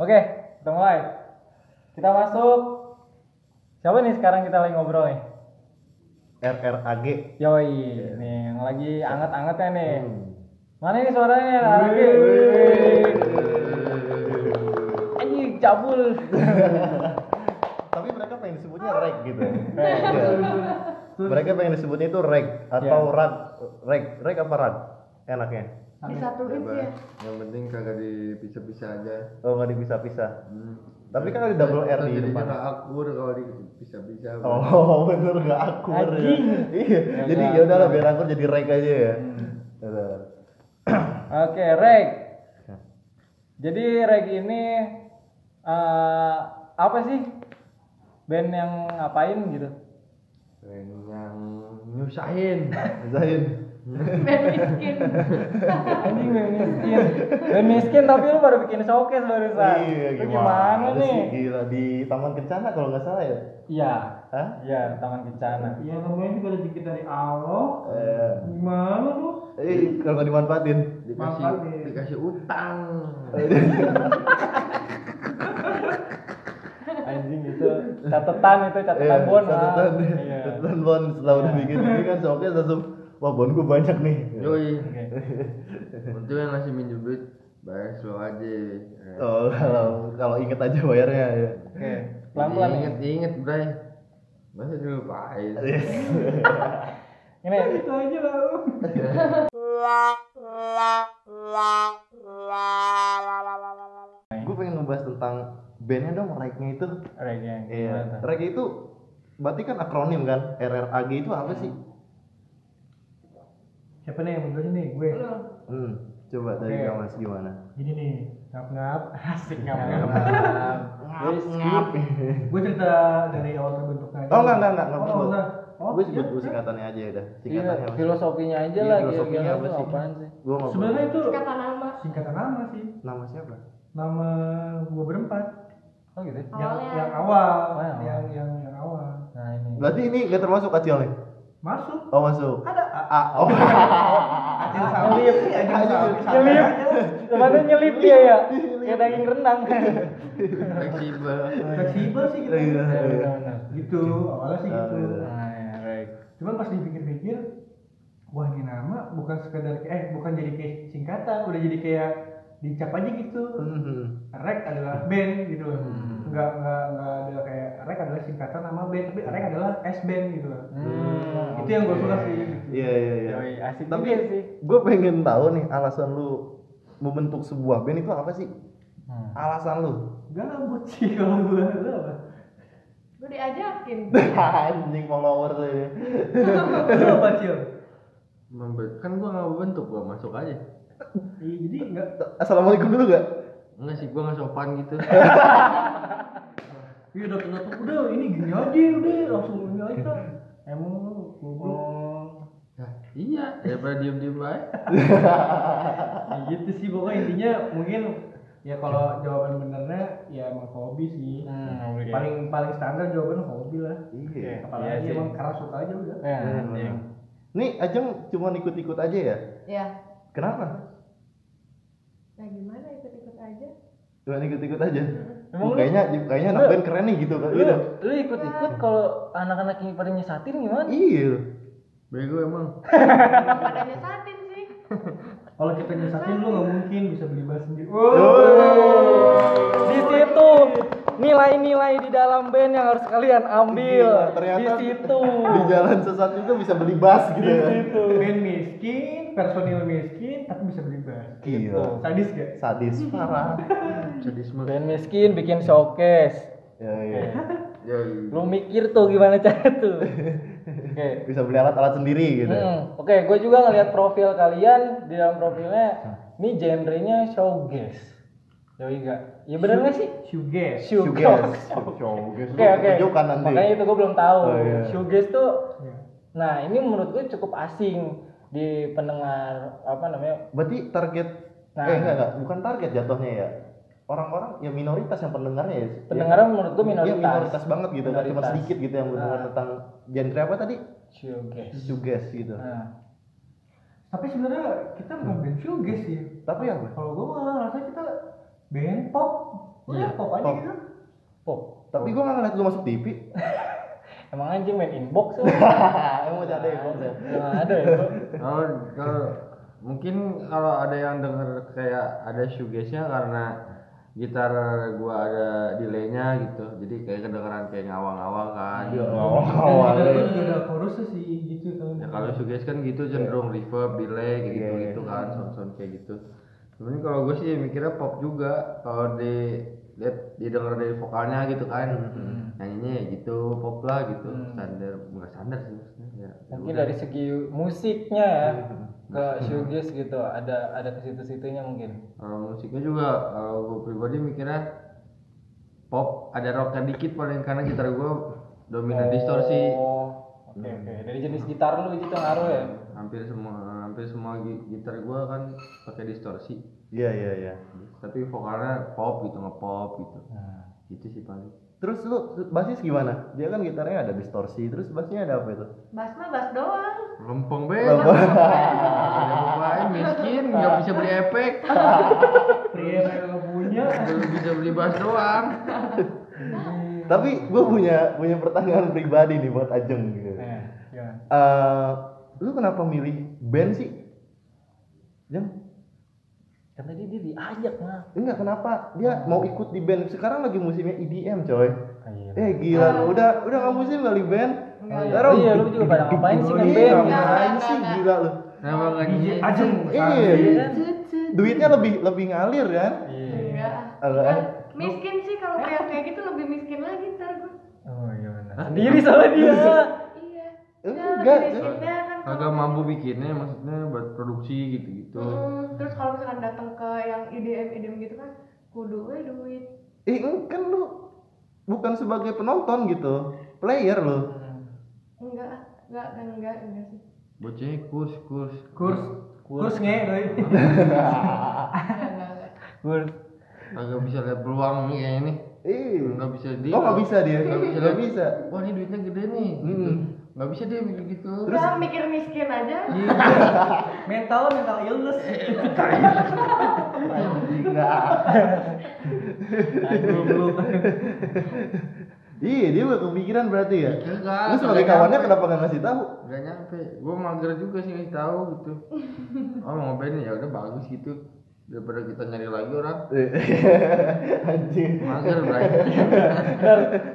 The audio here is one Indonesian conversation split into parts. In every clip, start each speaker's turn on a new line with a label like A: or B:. A: Oke, kita mulai. Kita masuk. Siapa nih sekarang kita lagi ngobrol nih?
B: RRAG.
A: Yoi, nih yang lagi anget-angetnya nih.
B: Hmm.
A: Mana ini suaranya? Lagi. Anjing, cabul.
B: Tapi mereka pengen disebutnya reg gitu.
A: Reg.
B: Iya. mereka pengen disebutnya itu reg atau
A: Iya.
B: rag. Reg, reg apa rag? Enaknya.
C: disatuin sih
A: Iya.
C: ya
D: Yang penting kagak dipisah-pisah aja.
B: Oh nggak dipisah-pisah.
D: Hmm.
B: Tapi kan ada double R di
D: Jadinya
B: depan.
D: nggak akur kalau dipisah-pisah.
B: Oh bener nggak akur ya.
A: Anjing.
B: Iya.
A: Ya,
B: Jadi
A: nggak Hmm.
B: ya udahlah biar akur jadi reg aja ya. Gitu.
A: Oke, Reg. Jadi Reg ini eh, apa sih? Band yang ngapain gitu?
D: Yang yang nyusahin.
B: Zain.
C: band miskin
A: Anjing band miskin. Band miskin tapi lu baru bikin showcase barusan. Lu gimana
B: Iya, sih?
A: nih?
B: Gila di Taman Kencana kalau nggak salah ya.
A: Iya.
B: Hah?
A: Iya, Taman Kencana.
E: Ya namanya juga rezeki dari Allah.
B: Eh,
E: Gimana lu?
B: eh, kalau nggak dimanfaatin.
D: Dikasih
E: Makan nih.
D: dikasih utang.
B: Oh, iya.
A: Anjing itu catatan itu catatan
B: Iya,
A: bon lah.
B: catatan,
A: Iya.
B: catatan bon setelah udah
A: Iya.
B: bikin ini kan soalnya langsung wah bon gue banyak nih
D: Yoi.
A: Oke.
D: Untuk yang ngasih minjem duit, bayar slow aja. Eh,
B: oh kalau kalau inget aja bayarnya ya
A: Oke. Pelan-pelan ya? nih.
D: Ingat, ingat, Bray. Masa dilupain.
B: Iya.
A: Ini
E: Itu aja lah.
B: gue pengen ngebahas tentang bandnya dong ragnya itu
A: Reg yang gimana
B: iya
A: tuh?
B: rag itu berarti kan akronim kan RRAG itu apa sih
E: Siapa nih yang menjelaskan nih? Gue.
B: hmm coba dari
A: Oke.
B: kamu mas gimana
E: Jadi nih, ngap-ngap. Asik
A: Iya,
E: ngap-ngap.
A: Ngap, ngap.
E: Gue cerita dari awal terbentuknya. aja.
B: oh enggak enggak enggak enggak
E: Oh,
B: perlu
E: enggak. Oh,
B: gue sebut
E: iya.
B: gue singkatannya aja udah
A: Iya,
B: singkatannya apa sih?
A: filosofinya aja
B: Iya,
A: lah
B: filosofinya
A: kira-kira
B: apa
A: itu
B: sih?
A: apaan sih?
B: gue mau
E: Sebenarnya itu
C: kata nama
E: singkatan nama sih.
B: nama siapa
E: Nama gue berempat.
A: Oh gitu.
E: Yang,
C: Awalnya.
E: yang awal.
A: Oh, yang awal.
E: Yang yang yang awal.
A: Nah ini.
B: berarti ini nggak termasuk acil nih
E: Masuk.
B: oh masuk
E: Ada.
B: A oh
E: Acil Salim. Acil Salim.
A: Nyelip. Kemana nyelip dia ya? Kayak daging rendang.
D: Fleksibel.
E: Fleksibel sih kita.
B: Iya.
A: Iya, benar-benar.
E: Gitu. Awalnya sih
B: Ah,
E: gitu.
B: iya.
A: Nah, ya, Reg.
E: cuman pas dipikir-pikir wah ini nama bukan sekedar eh bukan jadi kayak singkatan udah jadi kayak dicap aja gitu
B: Hmm.
E: rek adalah band gitu loh nggak nggak nggak ada kayak rek adalah singkatan nama band tapi rek adalah s band gitu loh
A: Hmm.
E: itu yang gue suka sih gitu.
B: Iya iya iya.
A: Yoi, asik
B: Tapi
A: juga sih.
B: gue pengen tahu nih alasan lu membentuk sebuah band itu apa sih?
A: Hmm.
B: Alasan lu?
E: gabut sih kalau gue lu apa
C: gue diajakin
B: Anjing follower
A: ya.
B: saya.
E: lu apa cil
D: Membe- Kan gua nggak bentuk, gua masuk aja.
E: Iya, jadi nggak
B: Assalamualaikum dulu gak?
D: Enggak sih, gua nggak sopan gitu.
E: iya udah udah udah ini gini aja udah langsung ini aja emang lu goblok
D: Nah, iya, daripada diem-diem aja.
E: ya gitu sih pokoknya intinya mungkin ya kalau jawaban benernya ya emang hobi sih
B: Iya.
A: Hmm, oke.
E: paling paling standar jawaban hobi lah
A: Iya.
E: apalagi
A: sih.
E: emang karena suka aja udah
A: Ya,
B: Bener,
A: anjing.
B: bener. Nih Ajeng cuma ikut-ikut aja ya?
C: ya
B: Kenapa?
C: nah gimana ikut-ikut aja
B: Cuma ikut-ikut aja.
A: Emang lu-
B: Oh, kayaknya kayaknya anak
A: lu-
B: band keren nih gitu kan.
A: Lu,
B: Iya.
A: lu ikut-ikut kalau anak-anak yang pada nyesatin gimana?
B: Iya.
D: Bego emang.
C: Emang pada nyesatin sih
E: kalau kita nyesatin lu nggak mungkin bisa beli bahan sendiri
B: Oh,
A: Oh. Di situ nilai-nilai di dalam band yang harus kalian ambil.
B: Gila, ternyata-
A: di situ.
B: Di jalan sesat juga bisa beli bass gitu kan.
E: band miskin personil miskin tapi bisa beli bahan
A: Gitu.
B: Gila.
E: sadis gak
B: Sadis parah.
D: Sadisme.
A: Band miskin bikin showcase.
B: Ya, iya.
D: Yoi.
A: Lu mikir tuh gimana cara tuh. Oke.
B: Bisa beli alat-alat sendiri gitu.
A: Iya. Hmm, Oke, gue juga ngeliat profil kalian di dalam profilnya, ini genrenya showcase. Yoi gak? Ya bener gak sih?
E: sugar
A: Showcase.
B: Showcase.
A: Oke oke.
B: Tunjukkan nanti.
A: Makanya itu gue belum tahu.
B: Oh, iya.
A: Showcase tuh, nah ini menurut gue cukup asing di pendengar apa namanya?
B: Berarti target
A: Nah.
B: eh enggak enggak, bukan target jatuhnya ya. orang-orang ya minoritas yang pendengarnya ya.
A: Pendengarnya menurut gua
B: Iya,
A: minoritas.
B: minoritas banget gitu kan, cuma
A: Minoritas.
B: sedikit gitu yang berdengar
A: Nah.
B: tentang genre apa tadi?
A: Shoegaze.
B: Suges gitu.
A: Nah,
E: Tapi sebenarnya kita bukan band shoegaze sih.
B: Tapi apa?
E: Kalau gue malah ngerasa kita band pop. Udah
D: Iya,
E: pop aja
B: pop.
E: gitu.
A: pop.
B: Tapi gua nggak ngeliat lu masuk TV.
A: Emang anjing main inbox lu?
B: Emang ada ya konsep.
A: Emang ada ya, Bro?
D: Kalau oh, kalau mungkin kalau ada yang denger kayak ada shoegaze-nya karena gitar gua ada delay-nya gitu. Jadi kayak kedengeran kayak ngawang-ngawang kan.
B: Iya. Ya Awal-awal.
E: Dan itu juga ada chorusnya sih gitu kan.
D: Ya kalau shoegaze kan gitu cenderung reverb, delay kayak gitu gitu kan, sound-sound kayak gitu. Sebenarnya kalau gue sih mikirnya pop juga kalau di lihat didengar dari vokalnya gitu kan. Nyanyinya ya gitu, pop lah gitu, standar enggak standar sih maksudnya. Ya, ya
A: Mungkin
D: udah.
A: dari segi musiknya ya
B: Hmm.
A: ke shoegaze gitu ada ada ke situ-situnya mungkin.
D: Kalau musiknya juga kalau gue pribadi mikirnya pop ada rocknya dikit paling karena gitar gue dominan distorsi
A: Oh, oke
B: Hmm.
A: oke. Dari jenis gitar lu gitu ngaruh
B: Iya.
A: ya.
D: hampir semua hampir semua gi- gitar gue kan pakai distorsi
B: Iya iya iya.
D: tapi vokalnya pop gitu ngepop gitu
E: Nah.
D: gitu sih paling
B: Terus lu basis gimana? Dia kan gitarnya ada distorsi, terus bassnya ada apa itu?
C: Bas mah bas doang.
D: lempeng banget ada pemain miskin nggak bisa beli efek
E: Pria yang gak punya.
D: belum bisa beli bass doang
B: Tapi gue punya punya pertanyaan pribadi nih buat Ajeng gitu.
A: Eh, ya.
B: Eh, lu kenapa milih band sih? Jeng,
A: Kan tadi dia diajak mah.
B: enggak kenapa
A: Hmm.
B: dia mau ikut di band sekarang lagi musimnya EDM coy.
A: Iya.
B: Eh gila lu udah udah nggak musim kali band.
A: Oh, iya.
B: Taruh.
A: Iya, lu juga pada ngapain sih main
B: Iya,
A: band?
B: ngapain sih gila lu?
D: kenapa nggak
E: DJ
D: DJ
E: Ajeng.
B: Iya. Duitnya lebih lebih ngalir kan?
A: Iya.
C: Enggak.
B: Agak-
C: Kan miskin sih kalau kayak kayak gitu lebih miskin lagi ntar gue.
A: Oh iya benar. Sendiri sama dia.
C: Iya.
B: Enggak,
C: Nah,
B: enggak.
C: lebih miskinnya kan kalau-
D: kagak mampu bikinnya maksudnya buat produksi gitu gitu
E: Hmm.
C: Mm, terus kalau misalkan datang ke yang IDM IDM gitu kan kudu we duit.
B: Eh eng- kan lu bukan sebagai penonton gitu, player lu.
C: Enggak, ah. enggak, enggak, enggak, enggak sih.
D: bocahnya kurs kurs
E: Kurs. Kurs Iya. nge, doi.
C: Enggak, enggak, enggak.
A: Gue
D: agak bisa lihat peluang nih kayaknya nih
B: Eh.
D: nggak bisa dia
B: Oh nggak bisa dia,
D: Nggak bisa.
B: nggak bisa.
D: wah ini duitnya gede nih gitu
B: Hmm.
D: nggak bisa dia mikir gitu
C: Udah mikir miskin aja.
E: Mental, mental illness.
D: belum belum
B: Iya dia gak kepikiran berarti ya.
D: Enggak,
B: Lu sebagai
D: soalnya
B: kawannya
D: apa?
B: kenapa gak ngasih tahu?
D: nggak nyampe gue mager juga sih ngasih tahu gitu oh mau ngapain ya udah bagus gitu daripada kita nyari lagi orang
B: Anjing.
D: mager berarti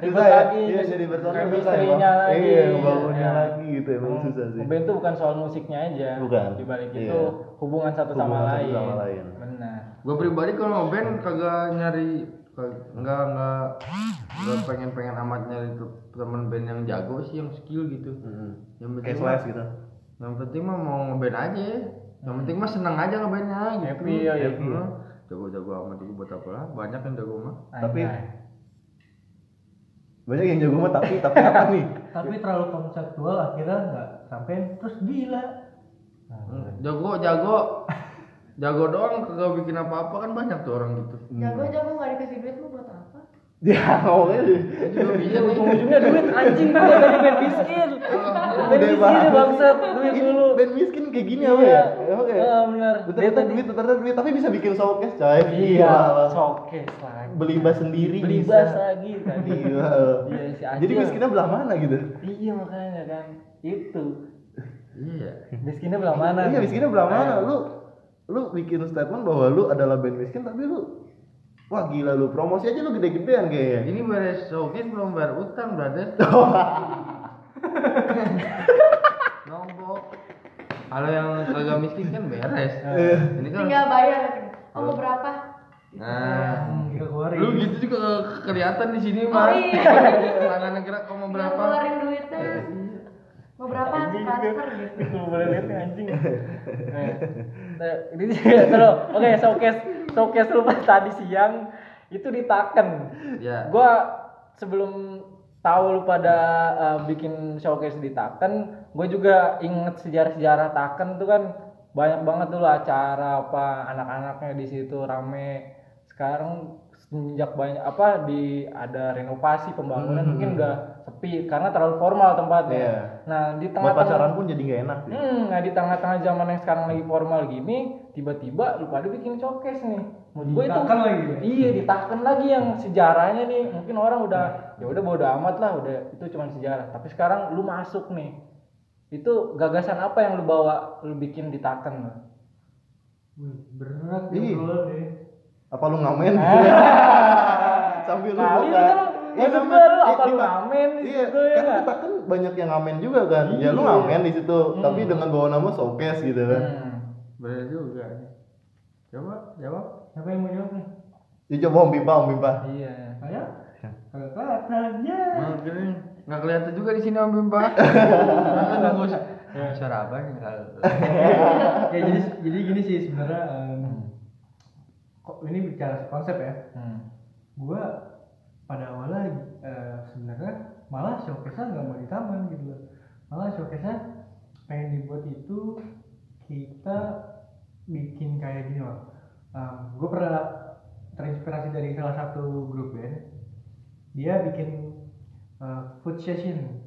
A: ribet
B: Susah ya,
A: lagi.
B: iya jadi personal susah
A: Chemistry-nya
B: emang.
A: lagi.
B: Iya bangunnya
A: Ya.
B: lagi gitu emang susah sih.
A: Band tuh bukan soal musiknya aja.
B: Bukan.
A: Di balik
B: Iya.
A: itu hubungan satu sama
B: Hubungan satu
A: lain.
B: sama lain.
A: Benar.
D: gue pribadi kalau mau band kagak nyari kag- nggak nggak nggak pengen pengen amat nyari te- temen band yang jago sih yang skill gitu
A: Hmm.
B: Mm-mm.
D: yang penting
B: Kayak
D: mah-
B: slash gitu.
D: yang penting mah mau ngeband aja yang penting mah seneng aja ngebandnya gitu
A: Happy, ya, happy.
D: Heeh. jago-jago amat juga buat apa lah banyak yang jago mah
B: Tapi-
A: Anjay.
B: Banyak yang jago mah tapi tapi apa nih?
E: Tapi terlalu konseptual akhirnya nggak sampai terus gila.
A: Iya.
D: jago jago jago doang kagak bikin apa-apa kan banyak tuh orang gitu
C: Hmm. Jago-jago nggak dikasih duit lu buat apa?
B: Ya ngomongnya sih.
D: Dia juga bisa nih
A: ujung-ujungnya duit anjing gue dari band miskin band miskin ya, bangsat duit
B: Ini
A: dulu
B: Band miskin kayak gini
A: Iya.
B: apa ya? Emang ya?
A: Ah, bener.
B: Bentar
A: Dia
B: bentar
A: tadi-
B: duit, bentar bentar duit, tapi bisa bikin showcase coy.
A: iya
B: Gila.
A: sokes lagi
B: Beli bass sendiri
A: beli
B: bisa.
A: bas lagi tadi
B: Gila.
A: Iya, si Acil.
B: Jadi miskinnya belah mana gitu?
A: iya makanya kan itu
D: iya
A: miskinnya belah mana
B: Iya miskinnya belah mana? Lu lu bikin statement bahwa lu adalah band miskin tapi lu wah gila lu promosi aja lu gede-gedean kayaknya.
D: ini beres showcase belum bayar utang brother nombok kalau yang kagak miskin kan beres
A: Iya.
D: ini kan
C: Tinggal bayar. Oh mau berapa?
D: nah
E: Nggak keluarin.
D: lu gitu juga ke- kelihatan di sini mah
C: Oh iya.
D: tangan gerak kamu
C: Nggak
D: berapa
C: keluarin duitnya.
A: Iya.
C: Mau berapa aku transfer gitu.
A: Itu boleh lihat nih, anjing Eh, nah, ini juga terus oke showcase showcase lu pas tadi siang itu ditaken
D: ya
A: Gua sebelum tahu lu pada uh, bikin showcase di Taken, gue juga inget sejarah-sejarah Taken tuh kan banyak banget dulu acara apa anak-anaknya di situ rame. sekarang semenjak banyak apa di ada renovasi pembangunan
B: Hmm.
A: mungkin udah sepi karena terlalu formal tempatnya.
B: Iya.
A: Nah di
B: Buat
A: tengah-tengah
B: pacaran pun jadi nggak enak. sih.
A: Hmm, nah di tengah-tengah zaman yang sekarang lagi formal gini, tiba-tiba lu pada bikin showcase nih. Menurut gua itu
E: Ditaken lagi ya?
A: Iya, ditaken lagi yang sejarahnya nih. Mungkin orang udah ya udah bodo amat lah, udah itu cuma sejarah. Tapi sekarang lu masuk nih. Itu gagasan apa yang lu bawa, lu bikin ditaken lu?
E: Wih, berat
B: Ih.
E: obrolan ya.
B: Apa lu ngamen? Sambil lu
A: Kali
B: buka.
A: itu kan,
B: Iya,
A: maksud gua lu
B: ngamen. Iya,
A: apa lu
B: iya.
A: ngamen di
B: Iya,
A: situ ya
B: kan
A: nggak?
B: kita kan banyak yang ngamen juga kan. Ya lu
A: Iya.
B: ngamen di situ,
A: Hmm.
B: tapi dengan bawa nama showcase gitu kan.
A: Hmm.
D: Bener juga. Coba jawab.
E: Siapa yang mau jawab nih?
B: Ya coba Om Bimpa, Om Bimpa.
A: Iya.
E: Saya? Kalau katanya.
D: Mungkin nggak kelihatan juga di sini Om Bimba. Bagus. Suara abang yang
C: Iya,
E: ya jadi jadi gini sih sebenarnya em, kok ini bicara konsep ya.
A: Hmm.
E: Gua pada awalnya eh, sebenarnya malah showcase nggak mau di taman gitu loh. Malah showcase pengen dibuat itu kita bikin kayak gini loh. gue pernah terinspirasi dari salah satu grup band. Dia bikin eh, food session,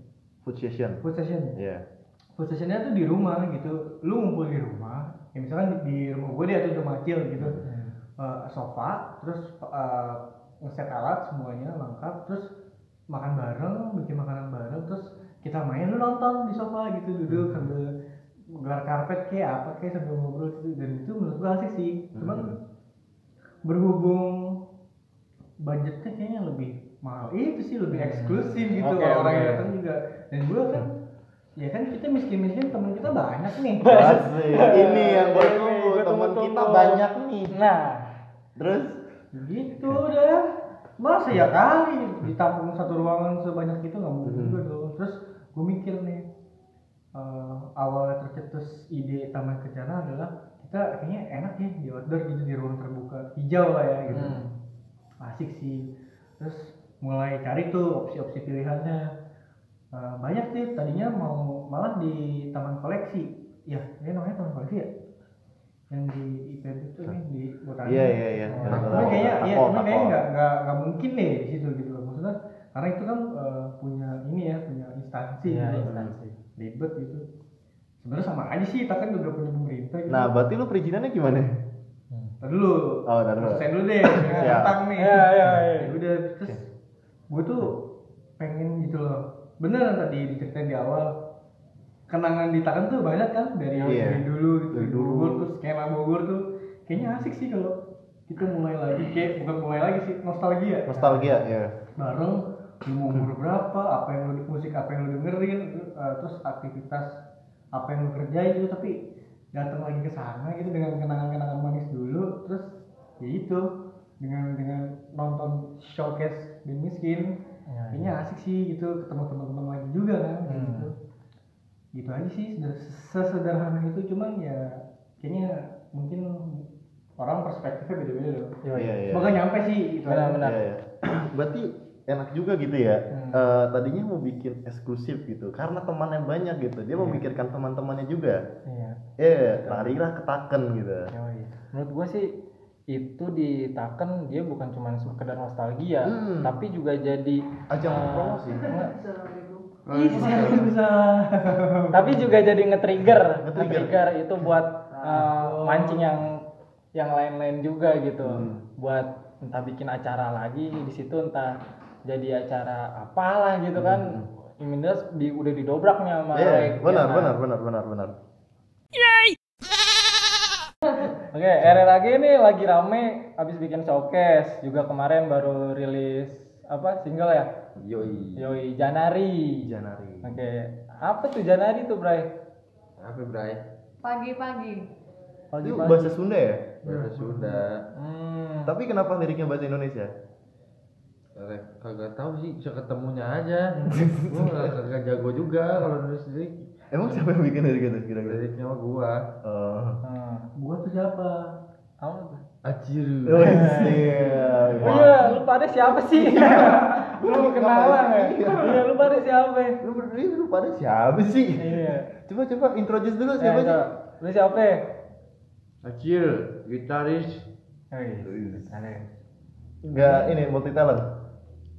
B: Food session.
E: food session
B: Iya.
E: food sessionnya tuh di rumah gitu lu ngumpul di rumah ya misalkan di, di rumah gue dia tuh rumah kecil gitu Eh, sofa terus eh, ngeset alat semuanya lengkap terus makan bareng bikin makanan bareng terus kita main lu nonton di sofa gitu duduk sambil gelar karpet kayak apa kayak sambil ngobrol gitu dan itu menurut gue asik sih cuman berhubung budgetnya kayaknya lebih mahal itu sih lebih eksklusif gitu
A: Hmm. Oke,
E: kalau orang
A: oke.
E: yang datang juga dan gue kan ya kan kita miskin-miskin temen kita banyak nih
B: Asik. Ini yang gue
A: Ini
B: tunggu,
A: gua
B: teman
A: tunggu-tunggu.
B: kita banyak nih.
A: Nah,
B: Terus
E: gitu udah masa ya kali ditampung satu ruangan sebanyak itu nggak mungkin
B: Mhm.
A: Hmm.
E: juga dong terus gue mikir nih eh, awal tercetus ide taman kencana adalah kita kayaknya enak ya di outdoor gitu di ruang terbuka hijau lah ya gitu
A: Hmm.
E: asik sih terus mulai cari tuh opsi-opsi pilihannya Eh, banyak sih tadinya mau malah di taman koleksi ya ini namanya taman koleksi ya yang di IPB itu nih di Botani
B: Iya, iya, iya.
E: Oh,
B: Yang
E: cuman
B: takol,
E: kayaknya iya
B: takol,
E: cuman kayaknya
B: takol.
E: nggak nggak nggak mungkin deh di situ gitu loh maksudnya karena itu kan eh, punya ini ya punya instansi
A: Iya,
E: gitu.
A: instansi.
E: ribet gitu sebenarnya sama aja sih tapi kan juga punya pemerintah gitu
B: nah berarti lu perizinannya gimana?
E: Ntar dulu
B: Oh, ntar dulu.
E: selesai dulu deh
B: Siap.
E: tentang nih
A: Iya, iya, iya.
E: Ya udah terus gue tuh pengen gitu loh bener yang tadi diceritain di awal kenangan di Tangan tuh banyak kan dari
B: Iya.
E: dari dulu gitu,
B: Dari
E: di
B: dulu.
E: Bogor tuh skena Bogor tuh kayaknya asik sih kalau kita mulai lagi kayak bukan mulai lagi sih nostalgia
B: Nostalgia
E: Iya.
B: ya.
E: bareng lu mau umur berapa apa yang lu musik apa yang lu dengerin eh, terus aktivitas apa yang lu kerjain itu tapi datang lagi ke sana gitu dengan kenangan-kenangan manis dulu terus ya itu dengan dengan nonton showcase bin miskin
A: Ya,
E: kayaknya asik sih gitu ketemu teman-teman lagi juga kan kayak
A: Hmm.
E: gitu gitu aja sih seder- sesederhana itu cuman ya kayaknya mungkin orang perspektifnya beda-beda loh
A: Iya,
B: Iya, iya.
E: semoga nyampe sih itu aja.
A: Benar-benar.
B: Iya, iya. Berarti enak juga gitu ya.
E: Hmm.
B: Eh, tadinya mau bikin eksklusif gitu karena temannya banyak gitu. Dia
E: Iya.
B: memikirkan teman-temannya juga.
A: Iya.
B: Eh, larilah ketaken gitu.
A: Yoi. Menurut gue sih itu di Taken dia bukan cuma sekedar nostalgia,
B: Hmm.
A: tapi juga jadi
B: Ajang
A: eh,
B: promosi. Iya,
A: nge-
C: Assalamualaikum.
E: bisa
A: tapi juga jadi nge-trigger,
B: Nge-trigger.
A: nge-trigger itu buat eh, mancing yang yang lain-lain juga gitu.
B: Hmm.
A: Buat entah bikin acara lagi di situ entah jadi acara apalah gitu kan. Imindas di, udah didobrak nih sama
B: Hmm. Iya,
A: Alek, ya
B: benar,
A: kan?
B: benar, benar, benar, benar.
A: Oke, RR lagi nih lagi rame abis bikin showcase juga kemarin baru rilis apa single ya?
D: Yoi.
A: Yoi Janari.
B: Janari.
A: Oke, apa tuh Janari tuh, Bray?
D: Apa Bray?
C: Pagi-pagi.
B: Itu
A: Pagi-pagi.
B: bahasa Sunda ya?
D: Ya sudah.
A: Hmm.
B: Tapi kenapa liriknya bahasa Indonesia?
D: Eh, Kagak tahu sih, bisa ketemunya aja. Gua nggak- kagak jago juga kalau nulis lirik.
B: Emang siapa yang bikin lirik itu
E: Iya.
B: kira-kira?
D: Liriknya mah gua.
B: Oh.
A: Hmm.
E: gua tuh siapa
A: Apa tuh?
D: Aciru.
B: Oh, iya.
A: Oh iya, lu pada siapa sih? lu kenalan ya? Iya, lu pada siapa?
B: Lu berdiri lu pada siapa sih?
A: Iya.
B: Coba coba introduce dulu
A: Eh,
B: siapa sih?
A: coba. Lu siapa?
D: Acil, gitaris
A: Yoi. Oh, iya. Ada.
B: Enggak ini multi talent.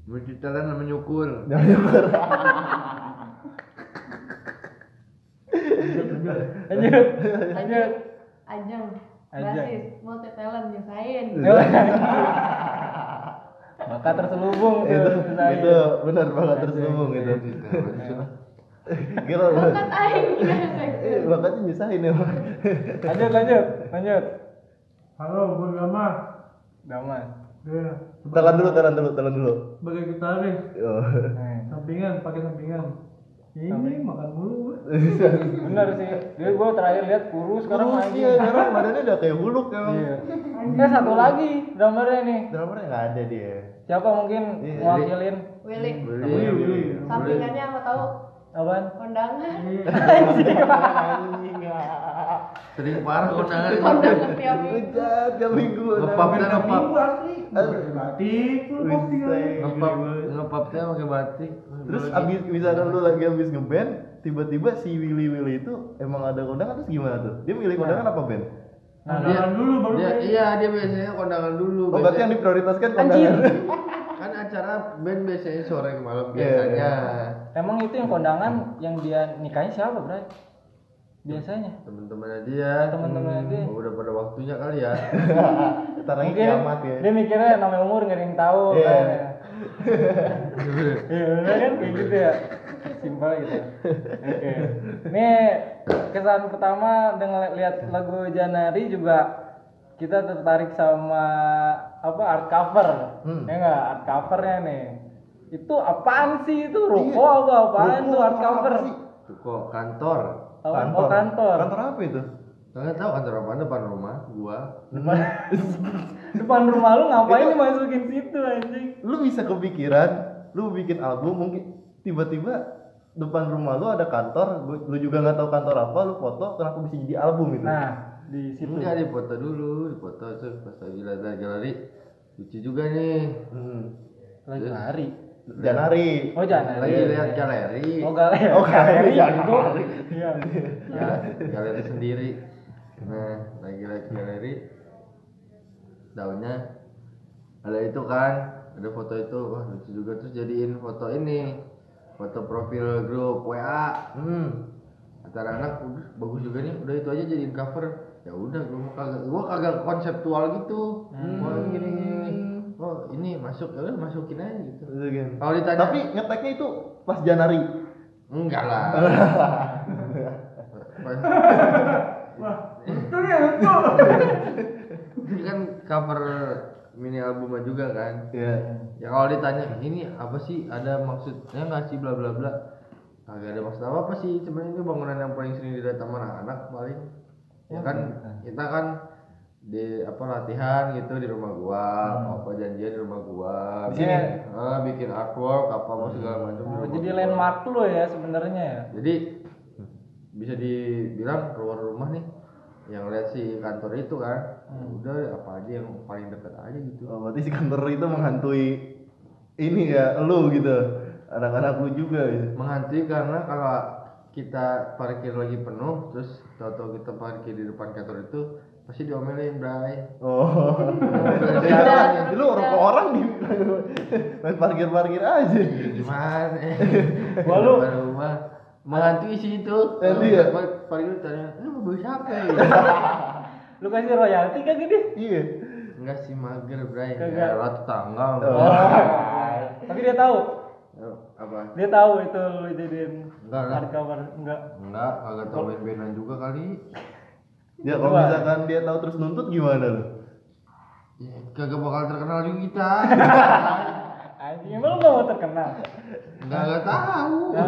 D: Multi talent sama nyukur.
A: lanjut lanjut
C: Ajeng.
A: Ajeng. Iya.
C: Basis multi talent nyusahin.
A: maka terselubung tuh
B: itu
A: Nah,
B: itu benar banget terselubung
A: Iya,
B: itu.
A: gitu.
B: Gila lu.
C: Bukan aing
B: Eh,
A: Iya.
B: Bakatnya nyusahin ya. Bang.
A: lanjut lanjut lanjut
E: Halo, gue Gama.
A: Daman
E: Gue
B: Telan dulu, telan dulu, telan dulu.
E: sebagai gitaris,
B: Oh.
A: Nah,
E: sampingan, pakai sampingan. Ya ini makan mulu. gue.
A: bener sih dia gue terakhir lihat kurus sekarang
B: Terus
A: lagi
B: iya, sekarang badannya udah kayak buluk emang.
A: iya eh satu lagi drummernya nih
B: Drummernya nggak ada dia.
A: siapa mungkin
B: Iya.
A: mewakilin
C: Willy.
A: Iya.
E: iya,
D: Beli, beli.
C: Sampingannya apa tahu?
A: apaan
C: Kondangan.
A: Iya.
B: Anjing.
D: Sering parah kondangan itu.
C: Kondangan tiap minggu.
A: Iya.
B: Hujan tiap minggu.
D: Ngepap dan
E: Makan
D: ngepap.
E: minggu asli. Pakai batik, lu posting aja.
D: Ngepap, ngepapnya pakai batik.
B: Terus abis misalkan lu lagi abis ngeband, tiba-tiba si Willy Willy itu emang ada kondangan terus gimana tuh? Dia milih kondangan apa band?
E: Nah, makan dulu baru
D: dia,
E: kayak-
D: iya dia biasanya kondangan dulu.
B: Oh, berarti
D: Biasanya-
B: yang diprioritaskan kondangan.
D: kan acara band biasanya sore ke malam
B: Iya.
D: biasanya.
A: emang itu yang kondangan yang dia nikahin siapa bray biasanya
D: Temen-temennya dia.
A: Nah, teman-teman dia
D: Oh, udah pada waktunya kali ya.
B: Ntar Hmm. lagi
A: mungkin
B: kiamat ya.
A: dia mikirnya namanya umur nggak ada yang tahu
B: Iya.
A: kan iya bener kan kayak gitu ya simpel gitu oke ini kesan pertama dengan lihat lagu Janari juga kita tertarik sama apa art cover
B: Hmm.
A: ya nggak art covernya nih itu apaan sih itu ruko apa apaan
B: Ruko
A: tuh art
B: Iya. apa
A: cover
B: sih?
D: Tuh kok kantor.
A: Oh, oh, kantor
B: Kantor apa itu?
D: Kalian tahu kantor apa depan rumah gua.
A: depan, depan rumah lu ngapain dimasukin situ anjing
B: Lu bisa kepikiran, lu bikin album mungkin tiba-tiba depan rumah lu ada kantor, gua- lu juga nggak tahu kantor apa, lu foto, kenapa bisa jadi album itu?
A: nah di situ
D: Enggak dipoto dulu, dipoto terus pas lagi lari galeri lucu juga nih.
B: Hmm.
A: lagi lari
B: Janari.
A: oh jangan
D: Lagi lihat galeri.
A: oh galeri
B: Oh, galeri,
A: itu
B: galeri.
A: iya
D: ya galeri sendiri nah lagi lagi galeri daunnya ada itu kan ada foto itu wah lucu juga terus jadiin foto ini foto profil grup WA
B: Hmm.
D: antara anak udah bagus juga nih udah itu aja jadiin cover ya udah gua mau kagak gua kagak konseptual gitu wah gini gini oh ini masuk ya udah masukin aja gitu
B: Itu kan.
D: kalau ditanya
B: Tapi ngeteknya itu pas Janari.
D: enggak lah
E: Wah, betul ya, betul.
D: ini kan cover mini albumnya juga kan
B: Iya.
D: ya kalau ditanya ini apa sih ada maksudnya nggak sih bla bla bla agak ada maksud apa apa sih cuman ini bangunan yang paling sering dilihat sama anak-anak paling ya kan kita kan di apa latihan gitu di rumah gua
A: Hmm.
D: apa janjian di rumah gua
A: Di sini?
D: Ah, bikin artwork apa apa segala macam di
A: Oh,
D: rumah
A: ya? jadi
D: gua.
A: landmark lu ya sebenarnya ya
D: jadi bisa dibilang keluar rumah nih yang lihat si kantor itu kan ya udah apa aja yang paling dekat aja gitu
B: Oh, berarti si kantor itu menghantui ini ya lu gitu. Anak-anak lu juga gitu.
D: menghantui karena kalau kita parkir lagi penuh terus tahu-tahu kita parkir di depan kantor itu pasti diomelin bray
B: Oh. Ya,
A: Iya.
C: Pindah.
B: lu orang orang di main parkir-parkir aja.
D: Ya gimana
A: Wah, lu-
D: Depan rumah menghantui sih itu
B: Eh, iya.
D: Par- parkir tanya lu mau beli siapa ya
A: lu kasih royalti kan kagak deh
B: Iya.
D: enggak sih mager bray
A: Kagak.
D: ya lah tetangga
A: tapi dia tahu
D: apa
A: dia tahu itu lu jadiin
D: Enggak lah.
A: art cover enggak
D: enggak kagak tau main-mainan juga kali
B: Ya kalau
A: Dua.
B: misalkan dia tahu terus nuntut gimana lu?
D: ya, kagak bakal terkenal juga kita
A: anjing emang lu gak mau terkenal
D: enggak enggak tahu
A: Nah,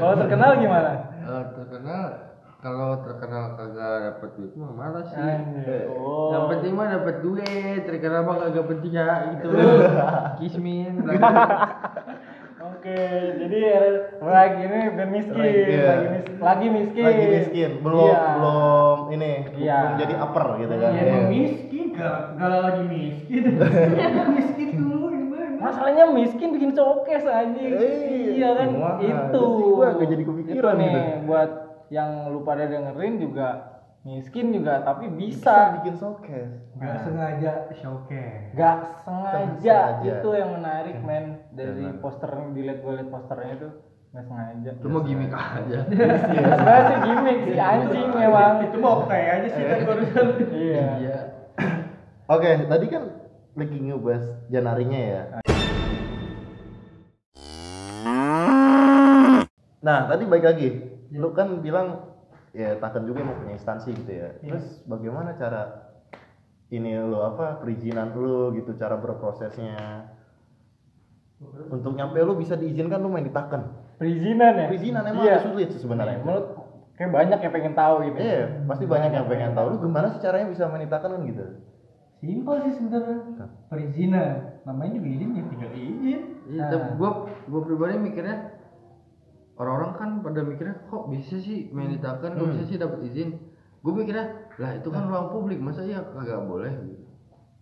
A: kalau terkenal gimana
D: Eh, terkenal kalau terkenal kagak dapet duit mah malas sih Eh,
A: anjing
D: yang
A: oh
D: penting mah dapet duit terkenal mah kagak penting ya gitu kismin lagi.
A: Oke, jadi lagi ini band miskin,
B: Lagi, iya.
A: lagi miskin, lagi miskin,
B: Lagi miskin, belum
A: Iya.
B: belum ini
A: Iya.
B: belum jadi upper gitu kan.
E: Ya, emang miskin, gak, gak lagi miskin. miskin dulu, gimana?
A: Masalahnya miskin bikin showcase anjing.
B: Eh,
A: iya kan?
B: wah,
A: itu.
B: itu sih gua nggak jadi kepikiran
A: Itu nih
B: gitu.
A: buat yang lu pada dengerin juga miskin juga tapi bisa
B: Bisa bikin showcase.
E: nggak sengaja showcase
A: gak sengaja
B: sengaja.
A: itu yang menarik men dari
D: Jangan.
A: poster dilihat gue liat posternya itu gak sengaja
D: Cuma gimmick aja.
B: ya.
A: sebenarnya sih gimmick sih anjing memang
E: Iya, itu mau kayak aja sih kan barusan
A: iya
D: Iya.
B: Oke, tadi kan lagi ngebahas Janarinya ya. Nah, tadi baik lagi.
A: Iya.
B: Lu kan bilang ya Taken juga mau punya instansi gitu ya.
A: Iya.
B: Terus bagaimana cara ini lu apa perizinan lu gitu cara berprosesnya untuk nyampe lu bisa diizinkan lu main di Taken.
A: perizinan ya
B: Perizinan emang
A: Iya.
B: agak sulit sih sebenarnya.
A: menurut kayak banyak yang pengen tahu gitu
B: Iya, pasti banyak yang pengen tahu lu gimana sih caranya bisa main di Taken kan gitu.
E: simpel sih sebenarnya perizinan namanya juga izin ya tinggal izin Nah,
D: Iya,
E: Ah.
D: tapi gua gua pribadi mikirnya orang-orang kan pada mikirnya kok bisa sih meditakan, kok bisa sih dapat izin. Gue mikirnya lah itu kan ruang publik, masa ya kagak boleh?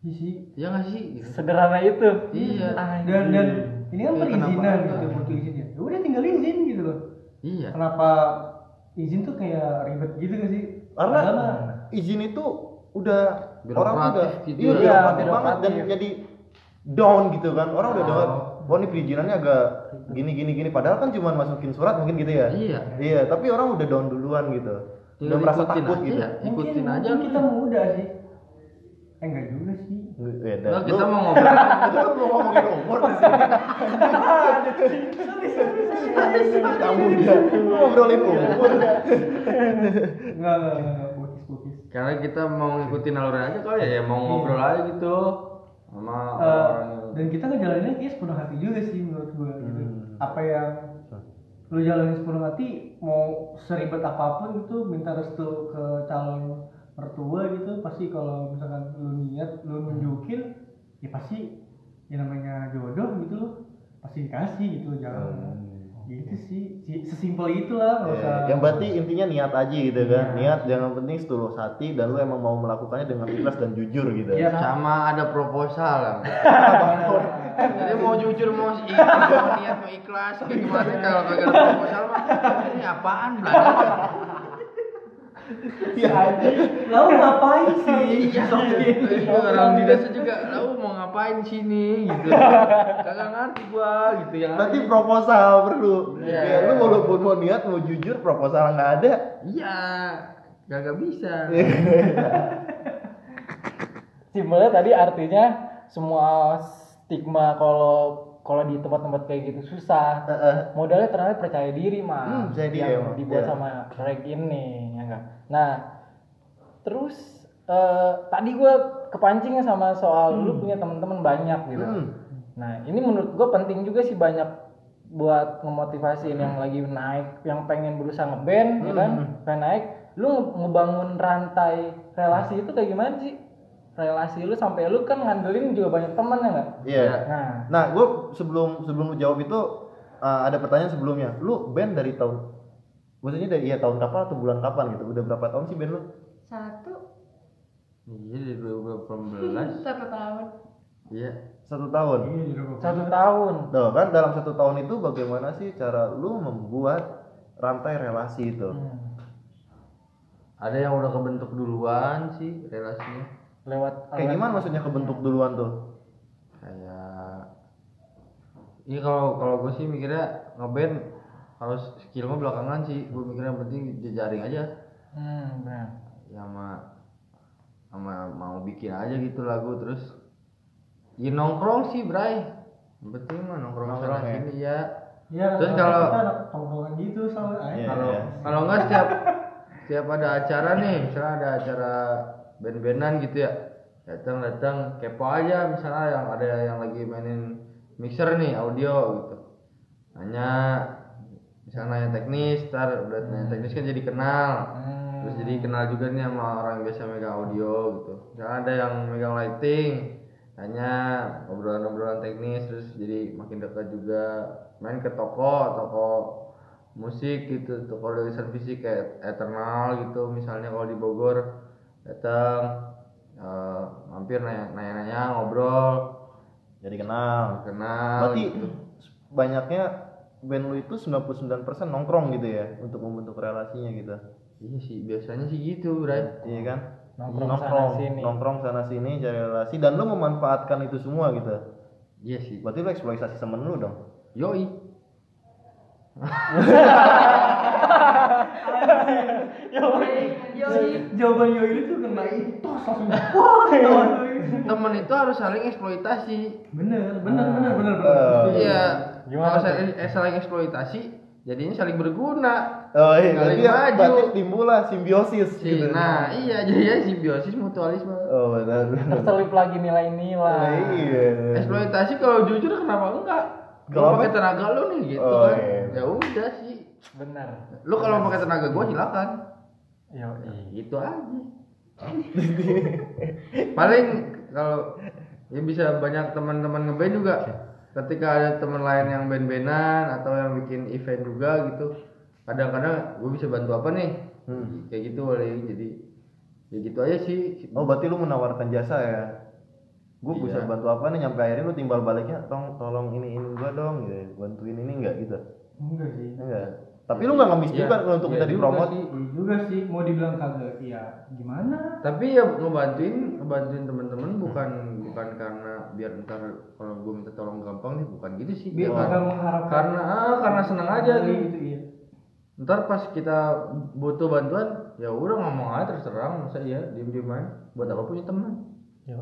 E: isi
D: Ya nggak sih? Gitu.
A: sederhana itu
D: Iya.
E: dan dan ini kan
D: Ya,
E: perizinan
D: kenapa
E: gitu
D: enggak?
E: butuh izin ya Ya udah tinggal izin gitu loh
D: Iya.
E: kenapa izin tuh kayak ribet gitu gak sih
B: karena
E: Padahal mah
B: izin itu udah
D: Birokratif
B: orang tuh udah
D: gitu
B: iya,
D: ya.
B: birokratif
A: Iya,
B: banget dan
A: birokratif.
B: jadi down gitu kan orang udah
D: Oh.
B: dengar wah ini perizinannya agak gini gini gini padahal kan cuma masukin surat mungkin gitu ya
D: Iya.
B: iya tapi orang udah down duluan gitu udah
D: Tinggal
B: merasa
D: ikutin
B: takut
D: aja,
B: gitu
D: ya. ikutin
E: mungkin,
D: aja.
E: mungkin kita muda sih eh enggak juga sih
B: Iya, dan
D: Nah,
B: lu-
D: kita mau ngobrol.
B: lu mau ngomongin umur di sini. Kamu dia ngobrolin umur.
E: enggak enggak enggak, enggak bukis bukis
D: Karena kita mau ngikutin alurnya aja kali
B: Iya,
D: ya, ya mau ngobrol aja gitu sama
E: Eh,
D: orang
E: dan kita ngejalaninnya kayaknya sepenuh hati juga sih menurut gua gitu
D: Hmm.
E: apa yang lu jalanin sepenuh hati mau seribet apapun gitu minta restu ke calon mertua gitu pasti kalau misalkan lu niat lu
D: Hmm.
E: nunjukin ya pasti ya namanya jodoh gitu loh pasti dikasih gitu jangan gitu sih Si- sesimpel itulah nggak usah
B: Iya, yang berarti intinya niat aja gitu kan niat yang penting setulus hati dan lu emang mau melakukannya dengan ikhlas dan jujur gitu
E: Iya.
D: sama ada proposal lah.
B: Apa?
D: Jadi mau jujur mau ikhlas, mau niat mau ikhlas kayak gimana kalau kagak ada proposal mah ini apaan belanda?
E: lalu ngapain sih
D: Iya, itu orang di desa juga. Lalu mau ngapain sini gitu. Kagak ngerti gua gitu yang
B: Berarti proposal perlu.
D: Iya.
B: Ya, lu walaupun mau niat mau jujur proposal nggak ada.
D: Iya, kagak bisa.
B: Iya.
A: simpelnya tadi artinya semua stigma kalau kalau di tempat-tempat kayak gitu susah
B: Heeh.
A: modalnya ternyata percaya diri mah
B: Hmm, percaya diri
A: yang
B: emang,
A: dibuat
B: iya.
A: sama reg ini ya enggak nah terus eh, tadi gue kepancingnya sama soal lu punya teman-teman banyak gitu
B: Hmm.
A: nah ini menurut gue penting juga sih banyak buat ngemotivasiin
B: Hmm.
A: yang lagi naik yang pengen berusaha ngeband ya kan pengen naik lu nge- ngebangun rantai relasi itu kayak gimana sih relasi lu sampai lu kan ngandelin juga banyak teman ya enggak
B: Iya.
A: nah
B: Nah, gue sebelum sebelum lu jawab itu uh, ada pertanyaan sebelumnya. Lu band dari tahun maksudnya dari iya tahun kapan atau bulan kapan gitu? Udah berapa tahun sih band lu?
C: satu
D: Iya di 2018.
C: satu tahun
D: Iya.
B: Satu tahun.
E: Iya, jodoh gua.
A: satu tahun
B: Tuh kan dalam satu tahun itu bagaimana sih cara lu membuat rantai relasi itu?
A: Hmm,
D: Ada yang udah kebentuk duluan sih relasinya.
A: lewat
B: Kayak gimana maksudnya kebentuk duluan tuh?
D: Kayak Ini kalau kalau gue sih mikirnya ngeband harus skillnya belakangan sih. Gue mikirnya yang penting di jaring aja.
A: hmm, benar.
D: ya sama sama mau bikin aja gitu lagu terus ya nongkrong sih bray Yang penting mah nongkrong,
B: Nongkrong
D: sana
B: ya?
D: sini ya
E: Iya,
D: Terus
E: rata-rata
D: kalau-
E: kita anak tongkrongan gitu soalnya
B: Iya.
D: kalau kalau enggak setiap setiap ada acara nih misalnya ada acara band-bandan gitu ya datang datang kepo aja misalnya yang ada yang lagi mainin mixer nih audio gitu nanya misalnya nanya teknis ntar udah nanya teknis kan jadi kenal
A: Hmm.
D: terus jadi kenal juga nih sama orang yang biasa megang audio gitu misalnya ada yang megang lighting tanya obrolan-obrolan teknis terus jadi makin dekat juga main ke toko toko musik gitu toko rilisan fisik kayak Eternal gitu misalnya kalau di Bogor datang eh, mampir nanya- nanya-nanya ngobrol
B: Jadi kenal.
D: kenal
B: Berarti
D: gitu.
B: banyaknya band lu itu 99% nongkrong gitu ya untuk membentuk relasinya gitu.
D: Iya sih, biasanya sih gitu, Bray.
B: Iya kan?
A: Nongkrong sana sini.
B: nongkrong sana sini, cari relasi dan lu memanfaatkan itu semua gitu.
D: Iya sih.
B: Berarti lu eksploitasi temen lu dong.
D: Yoi.
A: Iya.
C: Iya.
E: Jawaban Yoi itu kena itos langsung. Wah, jawaban Yoi.
D: Temen itu harus saling eksploitasi.
E: Bener, bener, bener, bener,
B: Eh.
E: bener.
D: Iya.
A: Gimana
D: Kalau
A: tuh?
D: saling, eh, saling eksploitasi, jadinya saling berguna.
B: Oh iya, berarti,
D: Saling maju.
B: berarti timbullah simbiosis
D: Sih,
B: gitu.
D: nah, iya jadinya simbiosis mutualisme.
B: Oh benar. benar.
A: terselip lagi
B: Nah,
A: nilai-nilai
B: iya.
D: Eksploitasi kalau jujur kenapa enggak? Kalau
B: Kalau-
D: pakai tenaga lu nih gitu
B: Oh,
D: kan.
B: iya.
D: Ya udah sih.
A: bener
D: Lu kalau pakai tenaga gua silakan.
A: yo
B: Hmm.
D: Gitu aja. Paling kalau ya bisa banyak teman-teman ngeband juga. Ketika ada teman lain yang band-bandan atau yang bikin event juga gitu. Kadang-kadang gue bisa bantu apa nih?
B: Hmm.
D: Kayak gitu paling jadi ya gitu aja sih.
B: Oh berarti lu menawarkan jasa ya? Gue
D: Iya.
B: bisa bantu apa nih? Nyampe akhirnya lu timbal baliknya, tolong tolong ini ini gua dong, gitu. bantuin ini enggak gitu?
E: Enggak sih.
B: Enggak. Iya. Tapi lu nggak ngemis
D: Iya.
B: juga untuk
D: Iya
B: minta
D: juga
B: dipromot.
D: sih.
E: Iya juga sih, mau dibilang kagak, iya gimana?
D: tapi ya ngebantuin ngebantuin teman-teman
B: Hmm.
D: bukan bukan karena biar ntar kalau gue minta tolong gampang nih bukan gitu sih
E: Biar
D: Biar
E: kagak mengharapkan
D: karena ah, karena seneng aja
B: Hmm.
E: Iya,
D: nih
E: gitu, iya.
D: ntar pas kita butuh bantuan ya udah ngomong aja terus terang masa iya diem diem aja buat apa punya teman
A: yo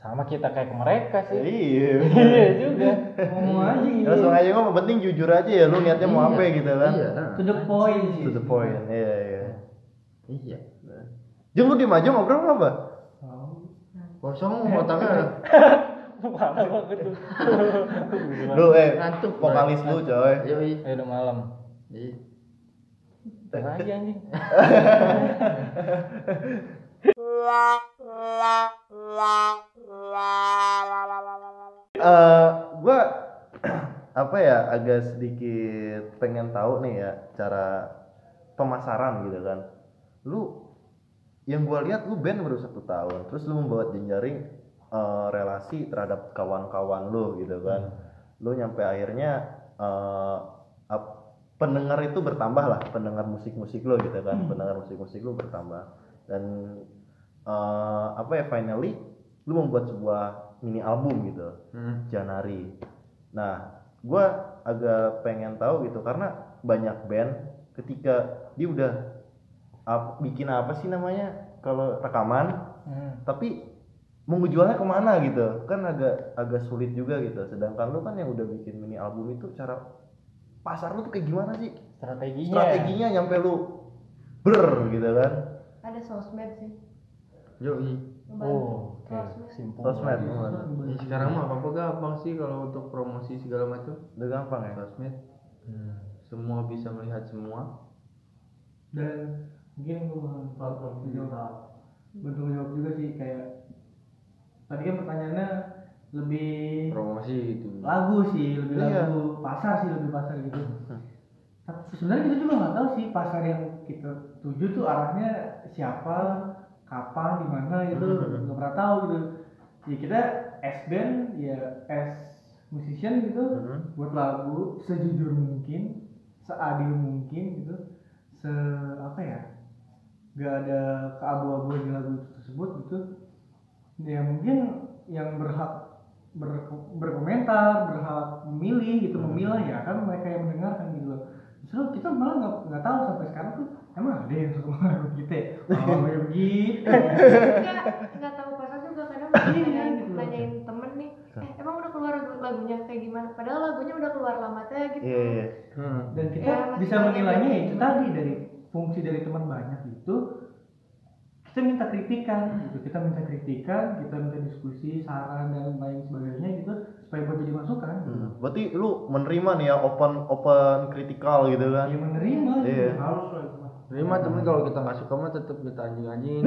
A: sama kita kayak ke mereka sih
B: Iya.
A: iya juga
E: Ngomong aja gitu.
B: Langsung aja ngomong, penting jujur aja ya lu niatnya mau
D: Iya,
B: apa gitu kan?
D: iya
E: To the point sih.
B: To the point. Iya iya.
D: iya
B: Jeng lu diem aja ngobrol apa?
E: Oh.
D: kosong otaknya
A: malam banget tuh
B: Lu eh
D: Iya. Ngantuk, bro.
B: vokalis lu coy.
D: yoi
A: ya udah malam
D: Iya.
A: lagi anjing
B: Eh, gua apa ya agak sedikit pengen tahu nih ya cara pemasaran gitu kan. Lu yang gua lihat lu band baru satu tahun, terus lu membuat jejaring eh, relasi terhadap kawan-kawan lu gitu kan. Lu nyampe akhirnya eh, ap- pendengar itu bertambah lah, pendengar musik-musik lu gitu kan, pendengar musik-musik lu bertambah dan eh, apa ya finally lu membuat sebuah mini album gitu.
D: Hmm.
B: Janari. Nah, gue agak pengen tahu gitu karena banyak band ketika dia udah ap- bikin apa sih namanya kalau rekaman,
A: Hmm.
B: tapi mau ngejualnya kemana gitu kan agak agak sulit juga gitu. Sedangkan lu kan yang udah bikin mini album itu cara pasar lu tuh kayak gimana sih
A: strateginya
B: strateginya nyampe lu ber gitu kan
C: ada sosmed sih
D: yoi
A: oh
C: ngebantu
A: oke
C: sosmed
A: simpul
B: sosmed gimana?
D: Ya, sekarang mah apa-apa gampang sih kalau untuk promosi segala macam
B: udah gampang ya
D: sosmed
A: Hmm.
D: semua bisa melihat semua
E: Dan mungkin gue bakal bakal jawab. Bentuk jawab juga sih kayak tadi kan pertanyaannya lebih
D: promosi itu
E: lagu sih, lebih
B: Iya.
E: lagu pasar sih, lebih pasar gitu. Tapi sebenarnya kita juga nggak tahu sih pasar yang kita tuju tuh arahnya siapa, kapan, di mana itu nggak pernah tahu gitu. Ya kita as band, ya as musician gitu,
B: Mhm.
E: buat lagu sejujur mungkin, seadil mungkin gitu, se apa ya, nggak ada keabu-abuan di lagu tersebut gitu. Ya mungkin yang berhak ber- berkomentar, berhak memilih gitu, memilah ya kan mereka yang mendengarkan gitu loh. Justru kita malah nggak nggak tahu sampai sekarang tuh emang ada yang suka lagu kita ya? Oh ya begitu.
C: Eh, Enggak, nggak tahu pasar juga kadang nanyain,
E: gitu.
C: nanyain temen nih eh emang udah keluar lagu- lagunya kayak gimana padahal lagunya udah keluar lama teh gitu
B: iya iya
D: Hmm.
E: Dan kita
C: Ya, masih
E: bisa
C: banyak
E: menilainya
C: yang
E: itu
C: gimana.
E: tadi dari fungsi dari teman banyak itu kita minta kritikan gitu kita minta kritikan kita minta diskusi saran dan lain sebagainya gitu supaya buat jadi masukan gitu.
B: Hmm, berarti lu menerima nih ya open open kritikal gitu kan
E: ya menerima gitu.
B: Iya.
E: harus lah itu mah.
D: Terima temen kalau kita nggak suka mah tetap kita anjing-anjingin.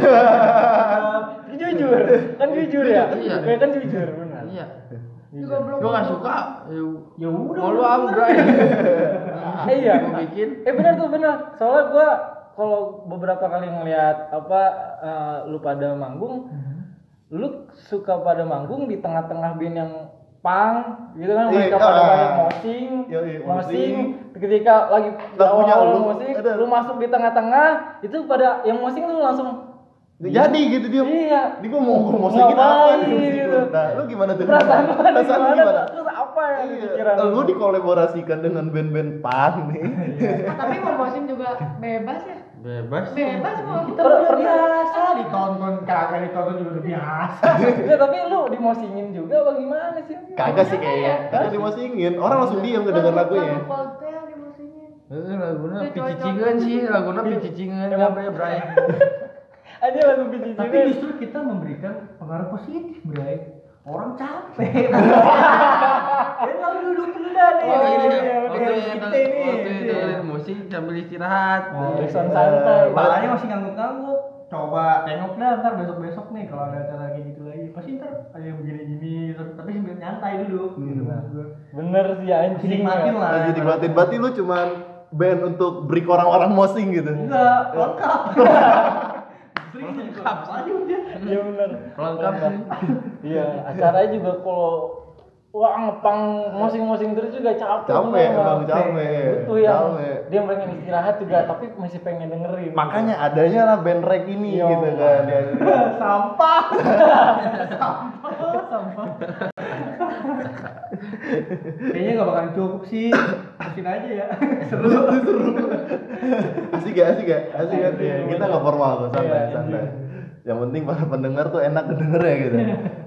A: jujur kan jujur ya
D: Iya.
A: Ya kan jujur benar
D: iya.
C: juga belum
D: Gua nggak suka. Ya
E: ya udah
D: Mau lu am, Bray.
A: Eh, iya.
D: Gua bikin.
A: eh benar tuh benar soalnya gua kalau beberapa kali ngeliat apa
B: Hmm.
A: eh, lu pada manggung lu suka pada manggung di tengah-tengah band yang pang gitu kan
B: Iya,
A: mereka pada
B: ah.
A: banyak mosing
B: Iya, iya,
A: mosing ketika lagi
B: Lagunya
A: awal-awal
B: lu,
A: mosing
B: ada.
A: lu masuk di tengah-tengah itu pada yang mosing lu langsung
B: Jadi gitu dia.
A: iya
B: Ini gua mau gua mau sakit apa
A: Ngapain,
B: nih?
A: gitu.
B: Nah, lu gimana tuh?
A: perasaan lu ada
B: Perasaan lu
A: gimana tuh? terus apa ya di pikiran
B: Iya. Lu dikolaborasikan dengan band-band punk nih.
C: Ah, tapi mau bosin juga bebas ya
D: Bebas.
C: bebas mau
A: Per- pernah
E: biasa ditonton kagak ditonton juga udah biasa
A: Enggak, tapi lu dimosingin juga apa gimana sih
B: Kagak sih kayaknya. Kagak sih masih ingin. Orang langsung diam kedengar lagunya. ya?
C: lagu Coldplay di musimnya
D: Eh, Laguna picicingan sih, laguna picicingan
A: Emang-
D: apa ya Bray?
A: aja lagu biji
E: tapi
A: juga
E: justru kita memberikan pengaruh positif bray orang capek dan lalu duduk dulu dah nih
A: Oh, iya,
E: Gitu,
A: iya,
E: gitu,
A: iya,
E: gitu,
A: iya,
E: kita ini,
D: Waktu itu
E: gitu.
D: dengerin musik sambil istirahat.
E: Oh,
A: Back sound santai
E: Kepalanya masih ngangguk-ngangguk coba tengok dah ntar besok-besok nih kalau ada acara kayak gitu lagi pasti ntar ada yang begini-gini terus- tapi sambil nyantai duduk gitu
A: bener sih anjing
E: nikmatin lah
B: Lagi dibatin berarti lu cuman band untuk break orang-orang mosing gitu.
E: enggak lengkap Justru ini juga aja udah.
A: iya bener
D: Lengkap sih.
A: iya acaranya juga kalau wah ngepang mosing-mosing terus juga capek
B: Capek,
A: bener,
B: emang
A: Bang.
B: capek.
A: itu yang
B: Capek.
A: dia pengen istirahat juga tapi masih pengen dengerin
B: Makanya adanya lah band rek ini
A: Iya.
B: gitu kan. Dia,
E: sampah sampah sampah kayaknya nggak bakalan cukup sih terusin aja ya seru
B: asik gak? Asik gak? Asik gak?
A: Iya,
B: Kita gak formal kok, santai,
A: Iya,
B: santai. Yang penting para pendengar tuh enak denger ya gitu.